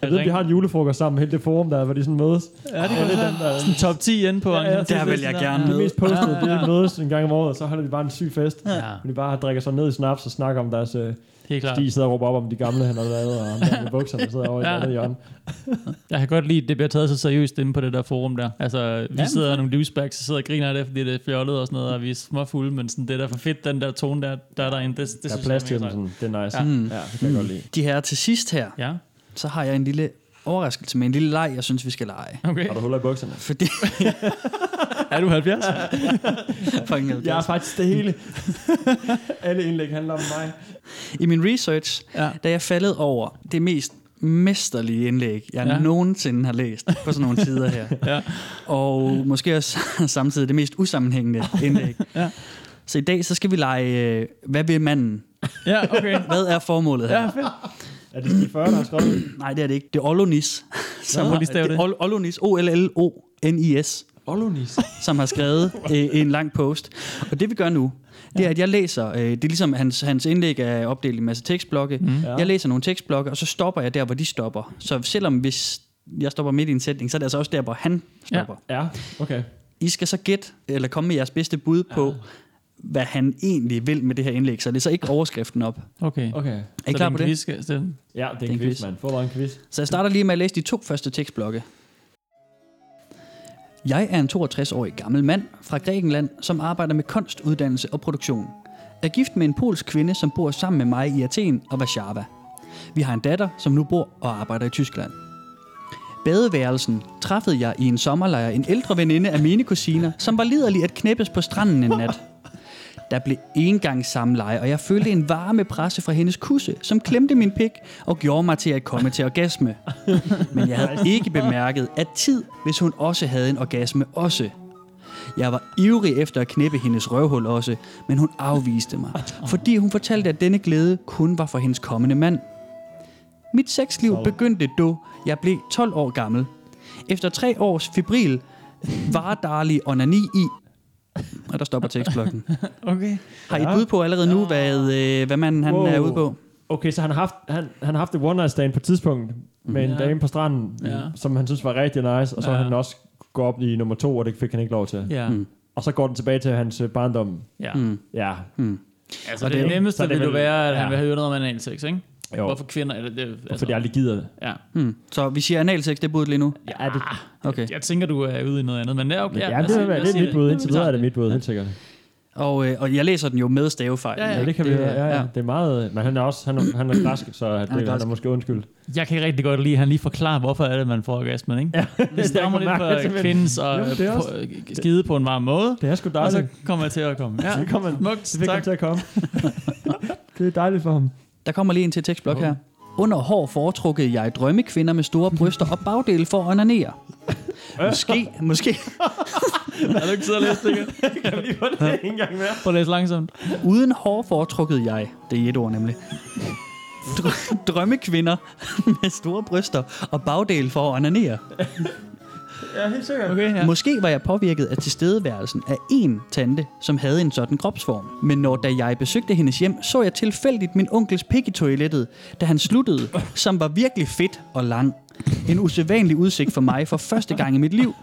Jeg ved, vi har en julefrokost sammen, hele det forum der, hvor de sådan mødes.
Ja, det kan være
der,
sådan top 10 inde på. en-
Der vil jeg gerne
Det
med.
mest postede, det er de mødes en gang om året, og så holder de bare en syg fest.
Ja.
Hvor de bare drikker sig ned i snaps og snakker om deres... Øh,
Helt klart.
de sidder og råber op om de gamle, han har lavet,
*laughs*
og ham der med bukserne sidder over i
Ja.
ja. andet hjørne.
Jeg kan godt lide, at det bliver taget så seriøst inde på det der forum der. Altså, vi sidder nogle douchebags, og sidder og griner af det, fordi det er fjollet og sådan noget, og vi er småfulde, men sådan, det er da for fedt, den der tone der, der er derinde. Det, det
Der er
synes
plads
jeg
til
er
dem,
mega
sådan, det er nice.
Ja. Mm.
Ja, ja det kan jeg godt lide.
De her til sidst her,
sejt. Ja,
så har jeg en lille overraskelse med en lille leg, jeg synes, vi skal lege.
okay.
Har du huller i bukserne?
Fordi,
Er du 70?
fucking hell,
Jeg er faktisk det hele. *laughs* Alle indlæg handler om mig.
I min research,
Ja.
ja. da jeg faldet over det mest mesterlige indlæg, jeg
Ja.
ja. nogensinde har læst på sådan nogle tider her.
*laughs* Ja.
Og måske også *laughs* samtidig det mest usammenhængende indlæg.
Ja.
Så i dag så skal vi lege, øh, hvad vil manden?
Ja, okay.
Hvad er formålet her?
Ja, fedt.
Er det de 40, der har skrevet det?
Nej, det er det ikke. Det er Olonis. Som
Nå,
har,
lige stave det.
Ol- Olonis, O-L-L-O-N-I-S,
Olonis.
som har skrevet øh, en lang post. Og det vi gør nu, det er, at jeg læser, øh, det er ligesom hans, hans indlæg er opdelt i en masse tekstblokke. Mm. Jeg læser nogle tekstblokke, og så stopper jeg der, hvor de stopper. Så selvom hvis jeg stopper midt i en sætning, så er det altså også der, hvor han stopper.
Ja, okay.
I skal så gætte, eller komme med jeres bedste bud på, hvad han egentlig vil med det her indlæg. Så det er så ikke overskriften op.
Okay.
Okay.
Er I klar på det?
Quiz, skal- så-
Ja, det er en,
en
quiz,
quiz.
mand. Få bare en quiz.
Så jeg starter lige med at læse de to første tekstblokke. Jeg er en 62-årig gammel mand fra Grækenland, som arbejder med kunst, uddannelse og produktion. Er gift med en polsk kvinde, som bor sammen med mig i Athen og Warszawa. Vi har en datter, som nu bor og arbejder i Tyskland. Badeværelsen træffede jeg i en sommerlejr en ældre veninde af mine kusiner, som var liderlig at knæppes på stranden en nat. Der blev engang samleje, og jeg følte en varme presse fra hendes kusse, som klemte min pik og gjorde mig til at komme til orgasme. Men jeg havde ikke bemærket, at tid, hvis hun også havde en orgasme også. Jeg var ivrig efter at knippe hendes røvhul også, men hun afviste mig, fordi hun fortalte, at denne glæde kun var for hendes kommende mand. Mit sexliv begyndte, da jeg blev 12 år gammel. Efter tre års febril varedarlig onani i... Og der stopper tekstblokken.
Okay.
Har I et bud på allerede nu, hvad, øh, hvad manden han
Wow.
er ude på?
Okay, så han har haft, han, han har haft et one night stand på et tidspunkt med en
Ja.
dame på stranden,
Ja.
som han synes var rigtig nice, og så
Ja.
ja. han også gå op i nummer to, og det fik han ikke lov til.
Ja.
Og så går den tilbage til hans øh, barndom.
ja.
Ja,
Altså,
Og
det,
det-
nemmeste
så det
det vil jo
vil-
være, at han
ja.
vil have øget noget med analsex, ikke?
jo.
Hvorfor kvinder? Eller det, altså,
Fordi jeg aldrig gider det.
ja.
Hmm. Så vi siger analsex, det er budet lige nu.
Ja, det,
Okay.
Jeg tænker, du er ude i noget andet, men det er okay.
ja,
lad
det,
os sige-
det,
lad
det,
os
det er
sige
mit bud. Indtil
Vi tager
videre er det
det.
mit bud, helt sikkert.
Og, øh, og jeg læser den jo med stavefejl.
Ja,
Ja, det kan vi.
Det-
Ja, ja.
ja.
Det er meget... Men han er også... Han er, han er græsk, så *laughs* det, han, er
græsk.
måske undskyldt.
Jeg kan rigtig godt lide, at han lige forklarer, hvorfor er det, man får orgasmen, ikke? Ja, det stammer
jeg kunne mærke
lidt
det,
fra
men-
kvindens
Jo,
og
men det er
på-
også-
skide på en varm måde,
Det er sgu
og så
dejligt.
kommer jeg til
*laughs*
at komme. Ja,
Så kommer han.
smukt,
Velkommen
Altså, tak.
til at
*laughs*
komme. det er dejligt for ham.
Der kommer lige en til tekstblok her. Under hår foretrukkede jeg drømmekvinder med store bryster og bagdele for at onanere. Måske, måske
Har du ikke siddet og læst det igen?
Vi får det ikke engang mere.
Prøv at læse langsomt.
uden hår foretrukkede jeg, det er i et ord nemlig, dr- drømmekvinder med store bryster og bagdele for at onanere.
Ja, helt sikkert.
Okay, ja.
Måske var jeg påvirket af tilstedeværelsen af en tante, som havde en sådan kropsform. Men når da jeg besøgte hendes hjem, så jeg tilfældigt min onkels pik i toilettet, da han sluttede, som var virkelig fedt og lang. En usædvanlig udsigt for mig for første gang i mit liv.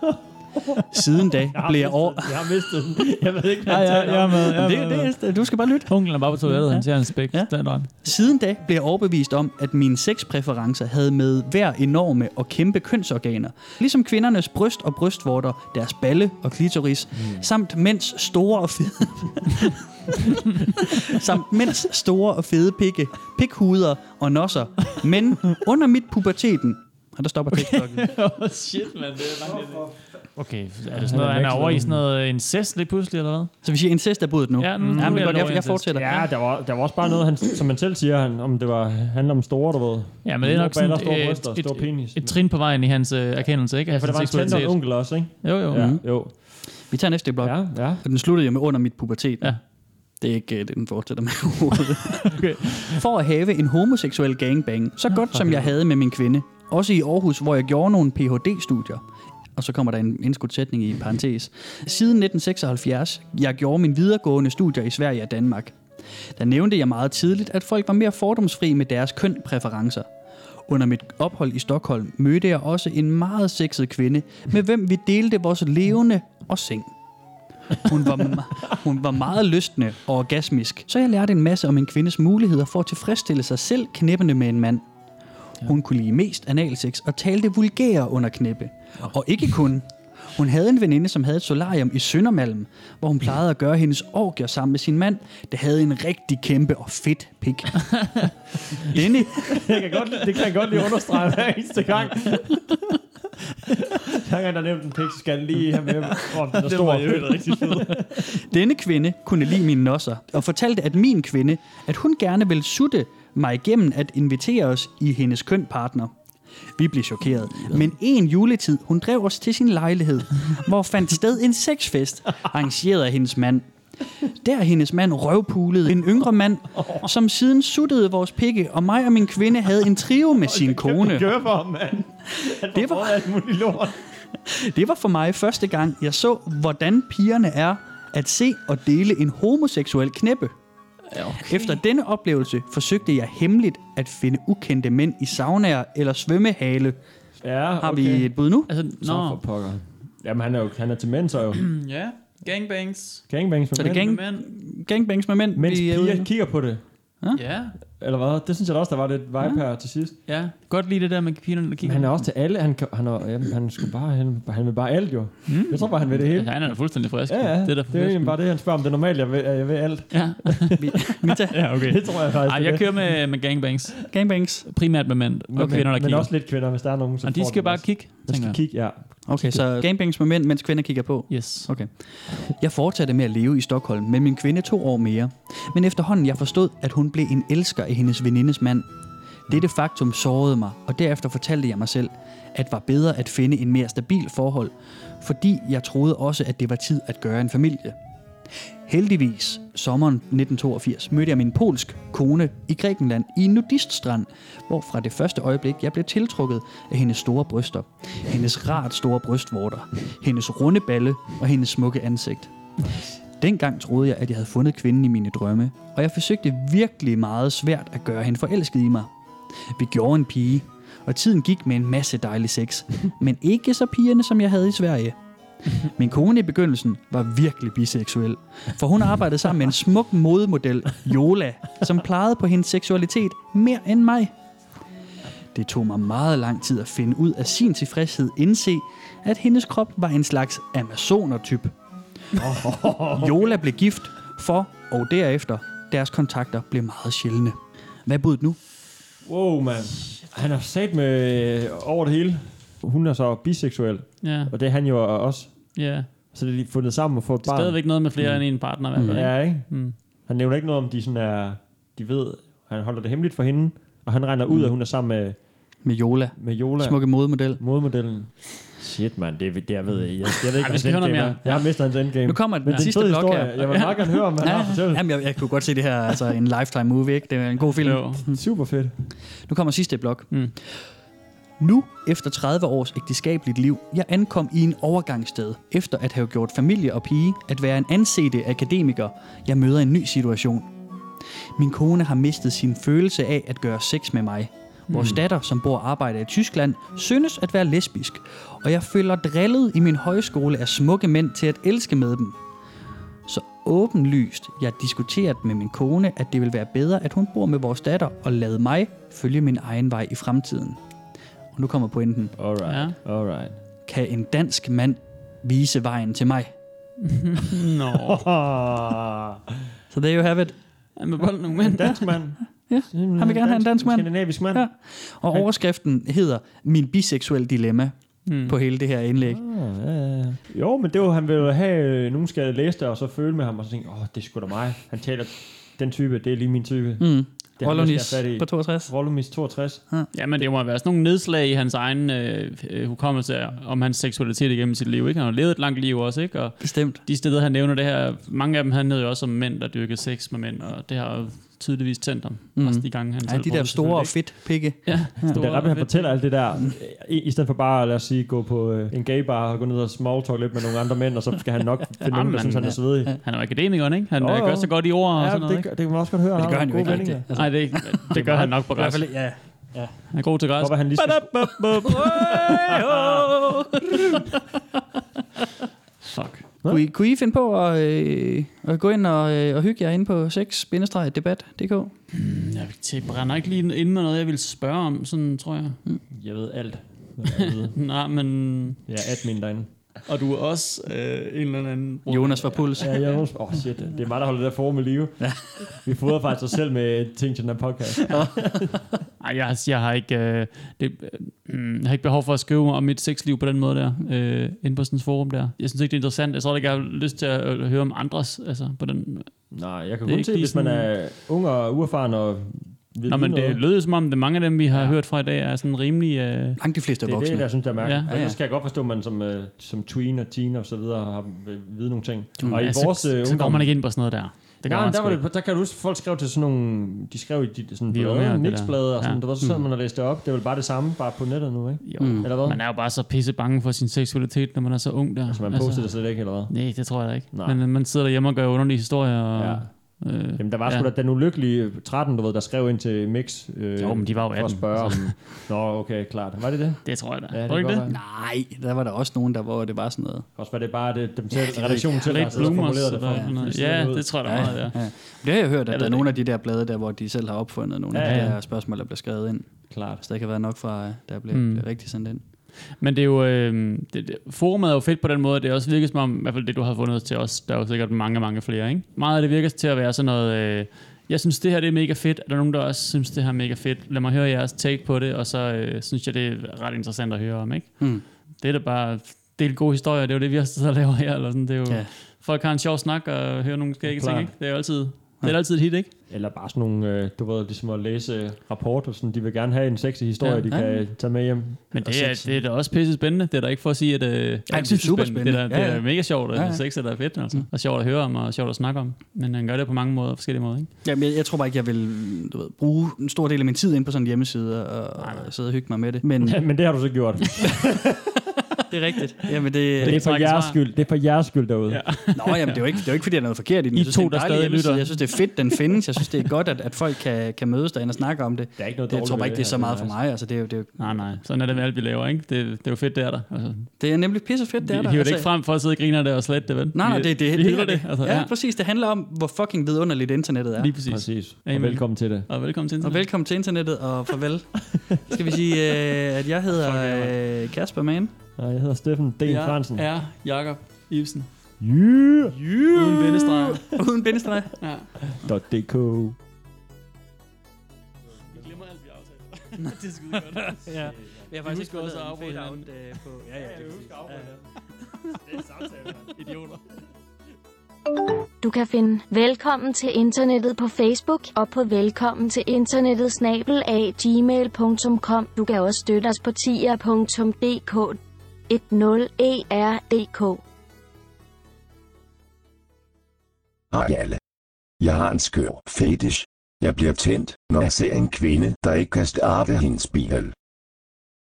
Siden da blev jeg over...
Jeg har mistet den. Jeg ved ikke, hvad
Ja,
han
ja,
taler
jeg er
om.
med. Jeg
Det,
er med.
det, du skal bare lytte.
Onklen er bare på toilettet, han ser en spæk. Ja.
Ja. Siden da blev jeg overbevist om, at mine sexpræferencer havde med hver enorme og kæmpe kønsorganer, ligesom kvindernes bryst og brystvorter, deres balle og klitoris, mm. samt mænds store og fede *laughs* samt mænds store og fede pikke, pikhuder og nosser, men under mit puberteten, og der stopper TikTokken.
Oh, shit, man. Det er langt Okay, er det sådan noget, han er over i sådan noget incest lige pludselig, eller hvad?
Så vi siger incest er budet nu.
Ja, nu- nu
ja,
er
men
det
godt, jeg,
over
jeg
incest.
fortsætter.
Ja, der var, der var også bare noget, han, som man selv siger, han, om det var, handler om store, du ved.
Ja, men det er nok
Store
sådan
baller,
et,
store bryster, store
et,
penis.
et trin på vejen i hans øh, erkendelse, ikke?
Ja, for der var en tante og en onkel også, ikke?
Jo, jo.
Ja,
Ja.
jo.
Vi tager næste blok.
Ja, ja.
Og den sluttede jo med under mit pubertet.
Ja.
Det er ikke øh, det, den fortsætter med overhovedet. For at have en homoseksuel gangbang, så godt som jeg havde med min kvinde. Også i Aarhus, hvor jeg gjorde nogle Ph.D.-studier. Og så kommer der en indskudt sætning i en parentes. Siden 1976, jeg gjorde mine videregående studier i Sverige og Danmark. Der nævnte jeg meget tidligt, at folk var mere fordomsfri med deres kønpræferencer. Under mit ophold i Stockholm mødte jeg også en meget sexet kvinde, med hvem vi delte vores levende og seng. Hun var, me- hun var meget lystende og orgasmisk, så jeg lærte en masse om en kvindes muligheder for at tilfredsstille sig selv knæppende med en mand. Hun kunne lide mest analsex og talte vulgære under knæppe. Og ikke kun. Hun havde en veninde, som havde et solarium i Søndermalm, hvor hun plejede at gøre hendes orgier sammen med sin mand, der havde en rigtig kæmpe og fedt pik. Denne,
Jeg kan godt, det kan jeg godt lige understrege hver eneste *laughs* gang. Hver gang, der er nævnt en pik, så skal jeg lige have med, om den er stor. Det var rigtig fedt.
denne kvinde kunne lide mine nosser, og fortalte, at min kvinde, at hun gerne ville sutte mig igennem at invitere os i hendes kønpartner. Vi blev chokeret. Men en juletid, hun drev os til sin lejlighed, hvor fandt sted en sexfest, arrangeret af hendes mand. Der hendes mand røvpulede en yngre mand, som siden suttede vores pikke, og mig og min kvinde havde en trio med sin kone.
Gør for, mand.
Det var,
Alt muligt lort.
*laughs* det var for mig første gang, jeg så, hvordan pigerne er at se og dele en homoseksuel knæppe. Okay. Efter denne oplevelse forsøgte jeg hemmeligt at finde ukendte mænd i saunaer eller svømmehale.
Ja, okay.
Har vi et bud nu?
Altså,
Nå, for
nå.
pokker. Jamen, han er jo han er til mænd, så
*clears throat*
er jo.
Ja, gangbangs.
Gangbangs med
Så det
mænd.
gang-
Gang... Mænd.
Gangbangs med mænd.
Mens
vi øh, er ude
piger
nu.
kigger på det.
Ja,
Eller hvad? Det synes jeg da også, der var lidt vibe her til sidst.
ja. Godt lige det der med pigerne, der
Men
kigger.
han er også til alle. Han, kan- han, er, jamen, han, skulle bare, han, han vil bare alt jo. Jeg tror bare, han vil det hele.
Mm. Ja, han er da fuldstændig frisk.
Ja, ja.
Det er da
det er jo egentlig bare det, han spørger om. Det er normalt, jeg vil, jeg vil alt.
Ja. *laughs*
Mita,
ja, okay.
Det tror jeg faktisk.
Ej,
det er
jeg
det.
kører med, med gangbangs.
gangbangs.
Primært med mænd og
Men-
kvinder, der
men,
kigger.
også lidt kvinder, hvis der er nogen, som
Og de
får
skal
den
bare
også.
kigge,
De
tænker
skal
jeg.
kigge, ja.
Okay, så gangbangs med mænd, mens kvinder kigger på.
Yes.
Okay. Jeg fortsatte med at leve i Stockholm med min kvinde to år mere, men efterhånden jeg forstod, at hun blev en elsker af hendes venindes mand. Dette faktum sårede mig, og derefter fortalte jeg mig selv, at var bedre at finde en mere stabil forhold, fordi jeg troede også, at det var tid at gøre en familie. Heldigvis, sommeren 1982, mødte jeg min polsk kone i Grækenland i en nudiststrand, hvor fra det første øjeblik, jeg blev tiltrukket af hendes store bryster, hendes rart store brystvorter, hendes runde balle og hendes smukke ansigt. Dengang troede jeg, at jeg havde fundet kvinden i mine drømme, og jeg forsøgte virkelig meget svært at gøre hende forelsket i mig. Vi gjorde en pige, og tiden gik med en masse dejlig sex, men ikke så pigerne, som jeg havde i Sverige. Min kone i begyndelsen var virkelig biseksuel, for hun arbejdede sammen med en smuk modemodel, Jola, som plejede på hendes seksualitet mere end mig. Det tog mig meget lang tid at finde ud af sin tilfredshed, indse, at hendes krop var en slags amazoner-type. Jola blev gift for, og derefter, deres kontakter blev meget sjældne. Hvad er budet nu?
Wow, mand. Han har sat med øh, over det hele. Hun er så biseksuel,
Ja,
og det er han jo også.
ja.
Så det er de fundet sammen og få et
Det er
barn.
stadigvæk noget med flere mm. end en partner. i hvert fald, ikke?
Ja, ikke?
Mm.
Han nævner ikke noget om, de sådan er... De ved, han holder det hemmeligt for hende, og han regner ud, at hun er sammen med,
Med Jola,
med Jola.
Mm. smukke modemodel.
Modemodellen. Shit, mand. Det, er- det jeg ved jeg. Jeg, jeg ved ikke,
vi skal
hans
høre noget
endgame
mere.
er. Jeg har mistet hans endgame.
Nu kommer den
Men det er en
sidste
fed
blok
historie.
her.
Jeg vil meget gerne høre, om han har fortalt.
Jamen, jeg, jeg kunne godt se det her, altså en lifetime movie, ikke? Det er en god film.
*laughs* Jo.
Super fedt.
Nu kommer sidste blok.
Mm.
Nu, efter 30 års ægteskabeligt liv, jeg ankom i en overgangssted, efter at have gjort familie og pige, at være en ansete akademiker, jeg møder en ny situation. Min kone har mistet sin følelse af at gøre sex med mig. Vores datter, som bor og arbejder i Tyskland, synes at være lesbisk, og jeg føler drillet i min højskole af smukke mænd til at elske med dem. Så åbenlyst, jeg diskuteret med min kone, at det vil være bedre, at hun bor med vores datter og lade mig følge min egen vej i fremtiden. Og nu kommer pointen.
Alright.
Ja.
Alright.
Kan en dansk mand vise vejen til mig?
Nå.
Ah.
Så so there you have it.
Han med bolden nogle mænd.
*laughs* Dansk mand.
Ja, han vil gerne have en dansk mand.
Skandinavisk mand.
Ja. Og overskriften hedder Min biseksuelle dilemma
Mm.
på hele Hmm. det her indlæg.
Ah, ja, ja, ja. Jo, men det var, han ville have, øh, nogen skal læse det, og så føle med ham, og så tænke, åh, det er sgu da mig. Han taler den type, det er lige min type. Mm.
Mm.
Det
Rollonis på 62.
Rollumis 62.
*laughs* Ja, men det må være sådan nogle nedslag i hans egen øh, øh, hukommelse om hans seksualitet igennem sit liv. Ikke? Han har levet et langt liv også, ikke? Og
Bestemt.
de steder, han nævner det her, mange af dem handlede jo også om mænd, der dyrkede sex med mænd, og det har jo tydeligvis tændt ham mm. også de gange, han
Ja,
selv
de der
brugte,
store og
selvfølgelig,
fedt pikke.
ikke? Ja,
Det er ret,
og
han
fedt.
fortæller alt det der, øh, i, i stedet for bare, lad os sige, gå på øh, en gaybar og gå ned og smalltalk lidt med nogle andre mænd, og så skal han nok
*laughs*
finde nogen, der
Jamen,
synes, han er
ja.
svedig.
Han er jo akademikeren, ikke? Han
Jo,
oh,
jo.
gør så godt i ord og
Ja,
sådan noget,
det,
ikke?
gør- det kan man også godt høre.
Men
han
det gør
har
han jo
nogle
ikke
gode vendinger.
rigtigt. Altså,
Nej, det, det gør han nok på
I hvert
græs.
fald, ja.
Ja. Han er god til græs.
Hvorfor han lige skulle-
Fuck.
Kunne I, kunne I finde på at, øh, at gå ind og, øh, og hygge jer inde på 6-debat.dk?
Jeg til- brænder ikke lige ind med noget, jeg ville spørge om, sådan tror jeg.
Jeg ved alt.
Nej, men...
Jeg er admin derinde.
Og du er også øh, en eller anden...
Jonas var puls.
Ja, jeg Åh, oh, shit. Det er mig, der holder det der forum i live. Vi fodrer faktisk os selv med ting til den her podcast.
Ej, jeg, jeg, har ikke, øh, det, øh, jeg har ikke behov for at skrive om mit sexliv på den måde der, øh, inde på sådan et forum der. Jeg synes ikke, det er interessant. Jeg tror ikke, jeg har lyst til at øh, høre om andres, altså på den...
Nej, jeg kan
Det er
kun
ikke
se,
lige
hvis man
sådan-
er ung og uerfaren og ved
Nå, men
noget.
det lød som om, at mange af dem, vi har ja. hørt fra i dag, er sådan rimelig... Øh,
Langt de fleste er
Det er
voksne.
det, der synes, jeg er mærkeligt.
Ja.
Ja,
Ja,
ja.
ja.
Og så kan jeg godt forstå, at man som, øh, som tween og teen og så videre har øh, vide nogle ting. Mm, og i
altså,
vores øh,
så går
ungdom...
man ikke ind på sådan noget der. Det gør
Ja,
man
men der,
sgu
var
ikke.
det, der kan du huske, folk skrev til sådan nogle... De skrev i de, sådan
Vi er
blade,
unge, det der.
mixblade og sådan.
Ja. Mm.
Ja. Det var så sad man og læste det op. Det er vel bare det samme, bare på Mm. nettet nu, ikke?
Jo. Mm.
Eller hvad?
Man er jo bare så pisse bange for sin seksualitet, når man er så ung der. Altså,
Så man poster det slet ikke, eller hvad?
Nej, det tror jeg da ikke.
Nej.
Nej. Men øh, man sidder derhjemme og gør underlige historier. Og,
Ja.
ja. øh,
Jamen, der var sgu
Ja.
da den ulykkelige 13, du ved, der skrev ind til Mix. Øh,
Jo, men de var jo altså.
For at
18,
spørge om... Nå, okay, klart. Var det det?
det tror jeg da.
Ja,
Ja,
det
det ikke
kan
det?
godt være.
Nej, der var der også nogen, der var det bare sådan noget.
Også var det bare det, dem selv, ja, redaktionen selv, der har
Late
siddet og
bloomers.
formuleret det
Eller sådan
for.
noget. Ja, det tror jeg da meget, det er.
ja. Det har jeg hørt, at
Jeg
der
ved
er nogle af de der blade, der, hvor de selv har opfundet nogle ja, af de
Ja, ja.
der spørgsmål, der bliver skrevet ind.
Klart.
Så der kan være nok fra, øh, der bliver,
Mm.
mm. bliver rigtig sendt ind.
Men det er jo, øh, det, det, forumet er jo fedt på den måde, at det også virker som om, i hvert fald det, du har fundet os til os, der er jo sikkert mange, mange flere, ikke? Meget af det virker til at være sådan noget, øh, jeg synes, det her det er mega fedt, er der nogen, der også synes, det her er mega fedt? Lad mig høre jeres take på det, og så øh, synes jeg, det er ret interessant at høre om, ikke?
Mm.
Det er da bare, det er en god historie, det er jo det, vi også sidder og laver her, eller sådan, det er jo, ja.
Ja.
folk har en sjov snak og hører nogle skægge ting,
Klart.
ikke? Det er jo altid, det er da altid et hit, ikke?
Eller bare sådan nogle, øh, du ved, ligesom at læse rapporter, sådan, de vil gerne have en sexy historie, ja,
Ja.
de kan øh, tage med hjem.
Men
Og
det er,
sex.
det er da også pisse spændende. Det er da ikke for at sige, at øh, Ej, det
er super
Det
spændende.
er, da,
Ja,
det er
ja.
mega sjovt, og
Ja,
ja,
ja. Mm.
ja. sex er da fedt. Altså. Og sjovt at høre om, og sjovt at snakke om. Men han gør det på mange måder, forskellige måder. Ikke?
Jamen, jeg, jeg tror bare ikke, jeg vil du ved, bruge en stor del af min tid ind på sådan en hjemmeside og, og sidde og hygge mig med det. Men
*laughs* Ja, *laughs* men det har du så gjort.
det er rigtigt. *laughs* Jamen, det,
det, er
det,
for
trækker
jeres
svar.
skyld. Det er for jeres skyld derude. Ja.
nå, jamen, det, er jo ikke, det er jo ikke, fordi der er noget forkert i den.
I
Jeg synes,
to,
det er en
der
dejlig
stadig
hjemmeside.
lytter.
Jeg synes, det er fedt, den findes. Jeg synes, det er godt, at, at folk kan, kan mødes derinde og snakke om det.
Der er ikke noget
det jeg tror
dårligt
bare
ved
ikke, det er så
her,
meget
det
for
er
mig. Altså, det, er, jo- det, er, jo-
Nej, nej. Sådan er det med alt, vi laver. Ikke? Det, det er jo fedt, det er der. Altså, vi
det er nemlig pisse fedt, det er der.
hiver det
altså,
ikke frem for at sidde og grine af det og slette det, vel?
Nej, nej,
Vi-
det, det,
vi
det,
hylder
det,
det. Altså,
ja,
ja,
ja, præcis. Det handler om, hvor fucking vidunderligt internettet er.
Lige præcis.
Præcis. Og
Amen.
velkommen til det.
Og velkommen til
Og
internet.
velkommen til internettet, og
*laughs*
farvel. Skal vi sige, øh, at jeg hedder øh, Kasper Mann.
Og jeg hedder Steffen D. Ja, Fransen.
Jeg er Jakob Ibsen.
Yeah.
Uden bindestreg.
Uden bindestreg.
Ja.
Dot .dk.
Vi glemmer alt, vi aftaler. det er skide godt.
Ja. Jeg har faktisk ikke
gået
gået
så
og
afbryde
fade out
hinanden.
øh, på... Ja, ja, det er præcis.
Idioter.
Du kan finde Velkommen til internettet på Facebook og på velkommen til internettet snabel af gmail.com. Du kan også støtte os på tier.dk E 10er.dk
Hej alle. Jeg har en skør fetish. Jeg bliver tændt, når jeg ser en kvinde, der ikke kan starte hendes bil.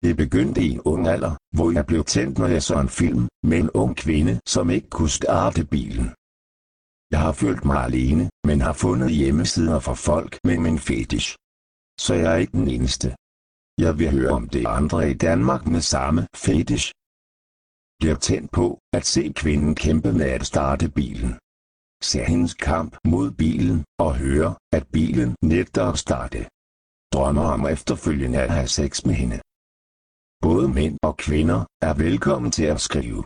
Det begyndte i en ung alder, hvor jeg blev tændt, når jeg så en film med en ung kvinde, som ikke kunne starte bilen. Jeg har følt mig alene, men har fundet hjemmesider for folk med min fetish. Så jeg er ikke den eneste. Jeg vil høre om det er andre i Danmark med samme fetish. Bliver tændt på at se kvinden kæmpe med at starte bilen ser hendes kamp mod bilen og hører, at bilen nægter at starte. Drømmer om efterfølgende at have sex med hende. Både mænd og kvinder er velkommen til at skrive.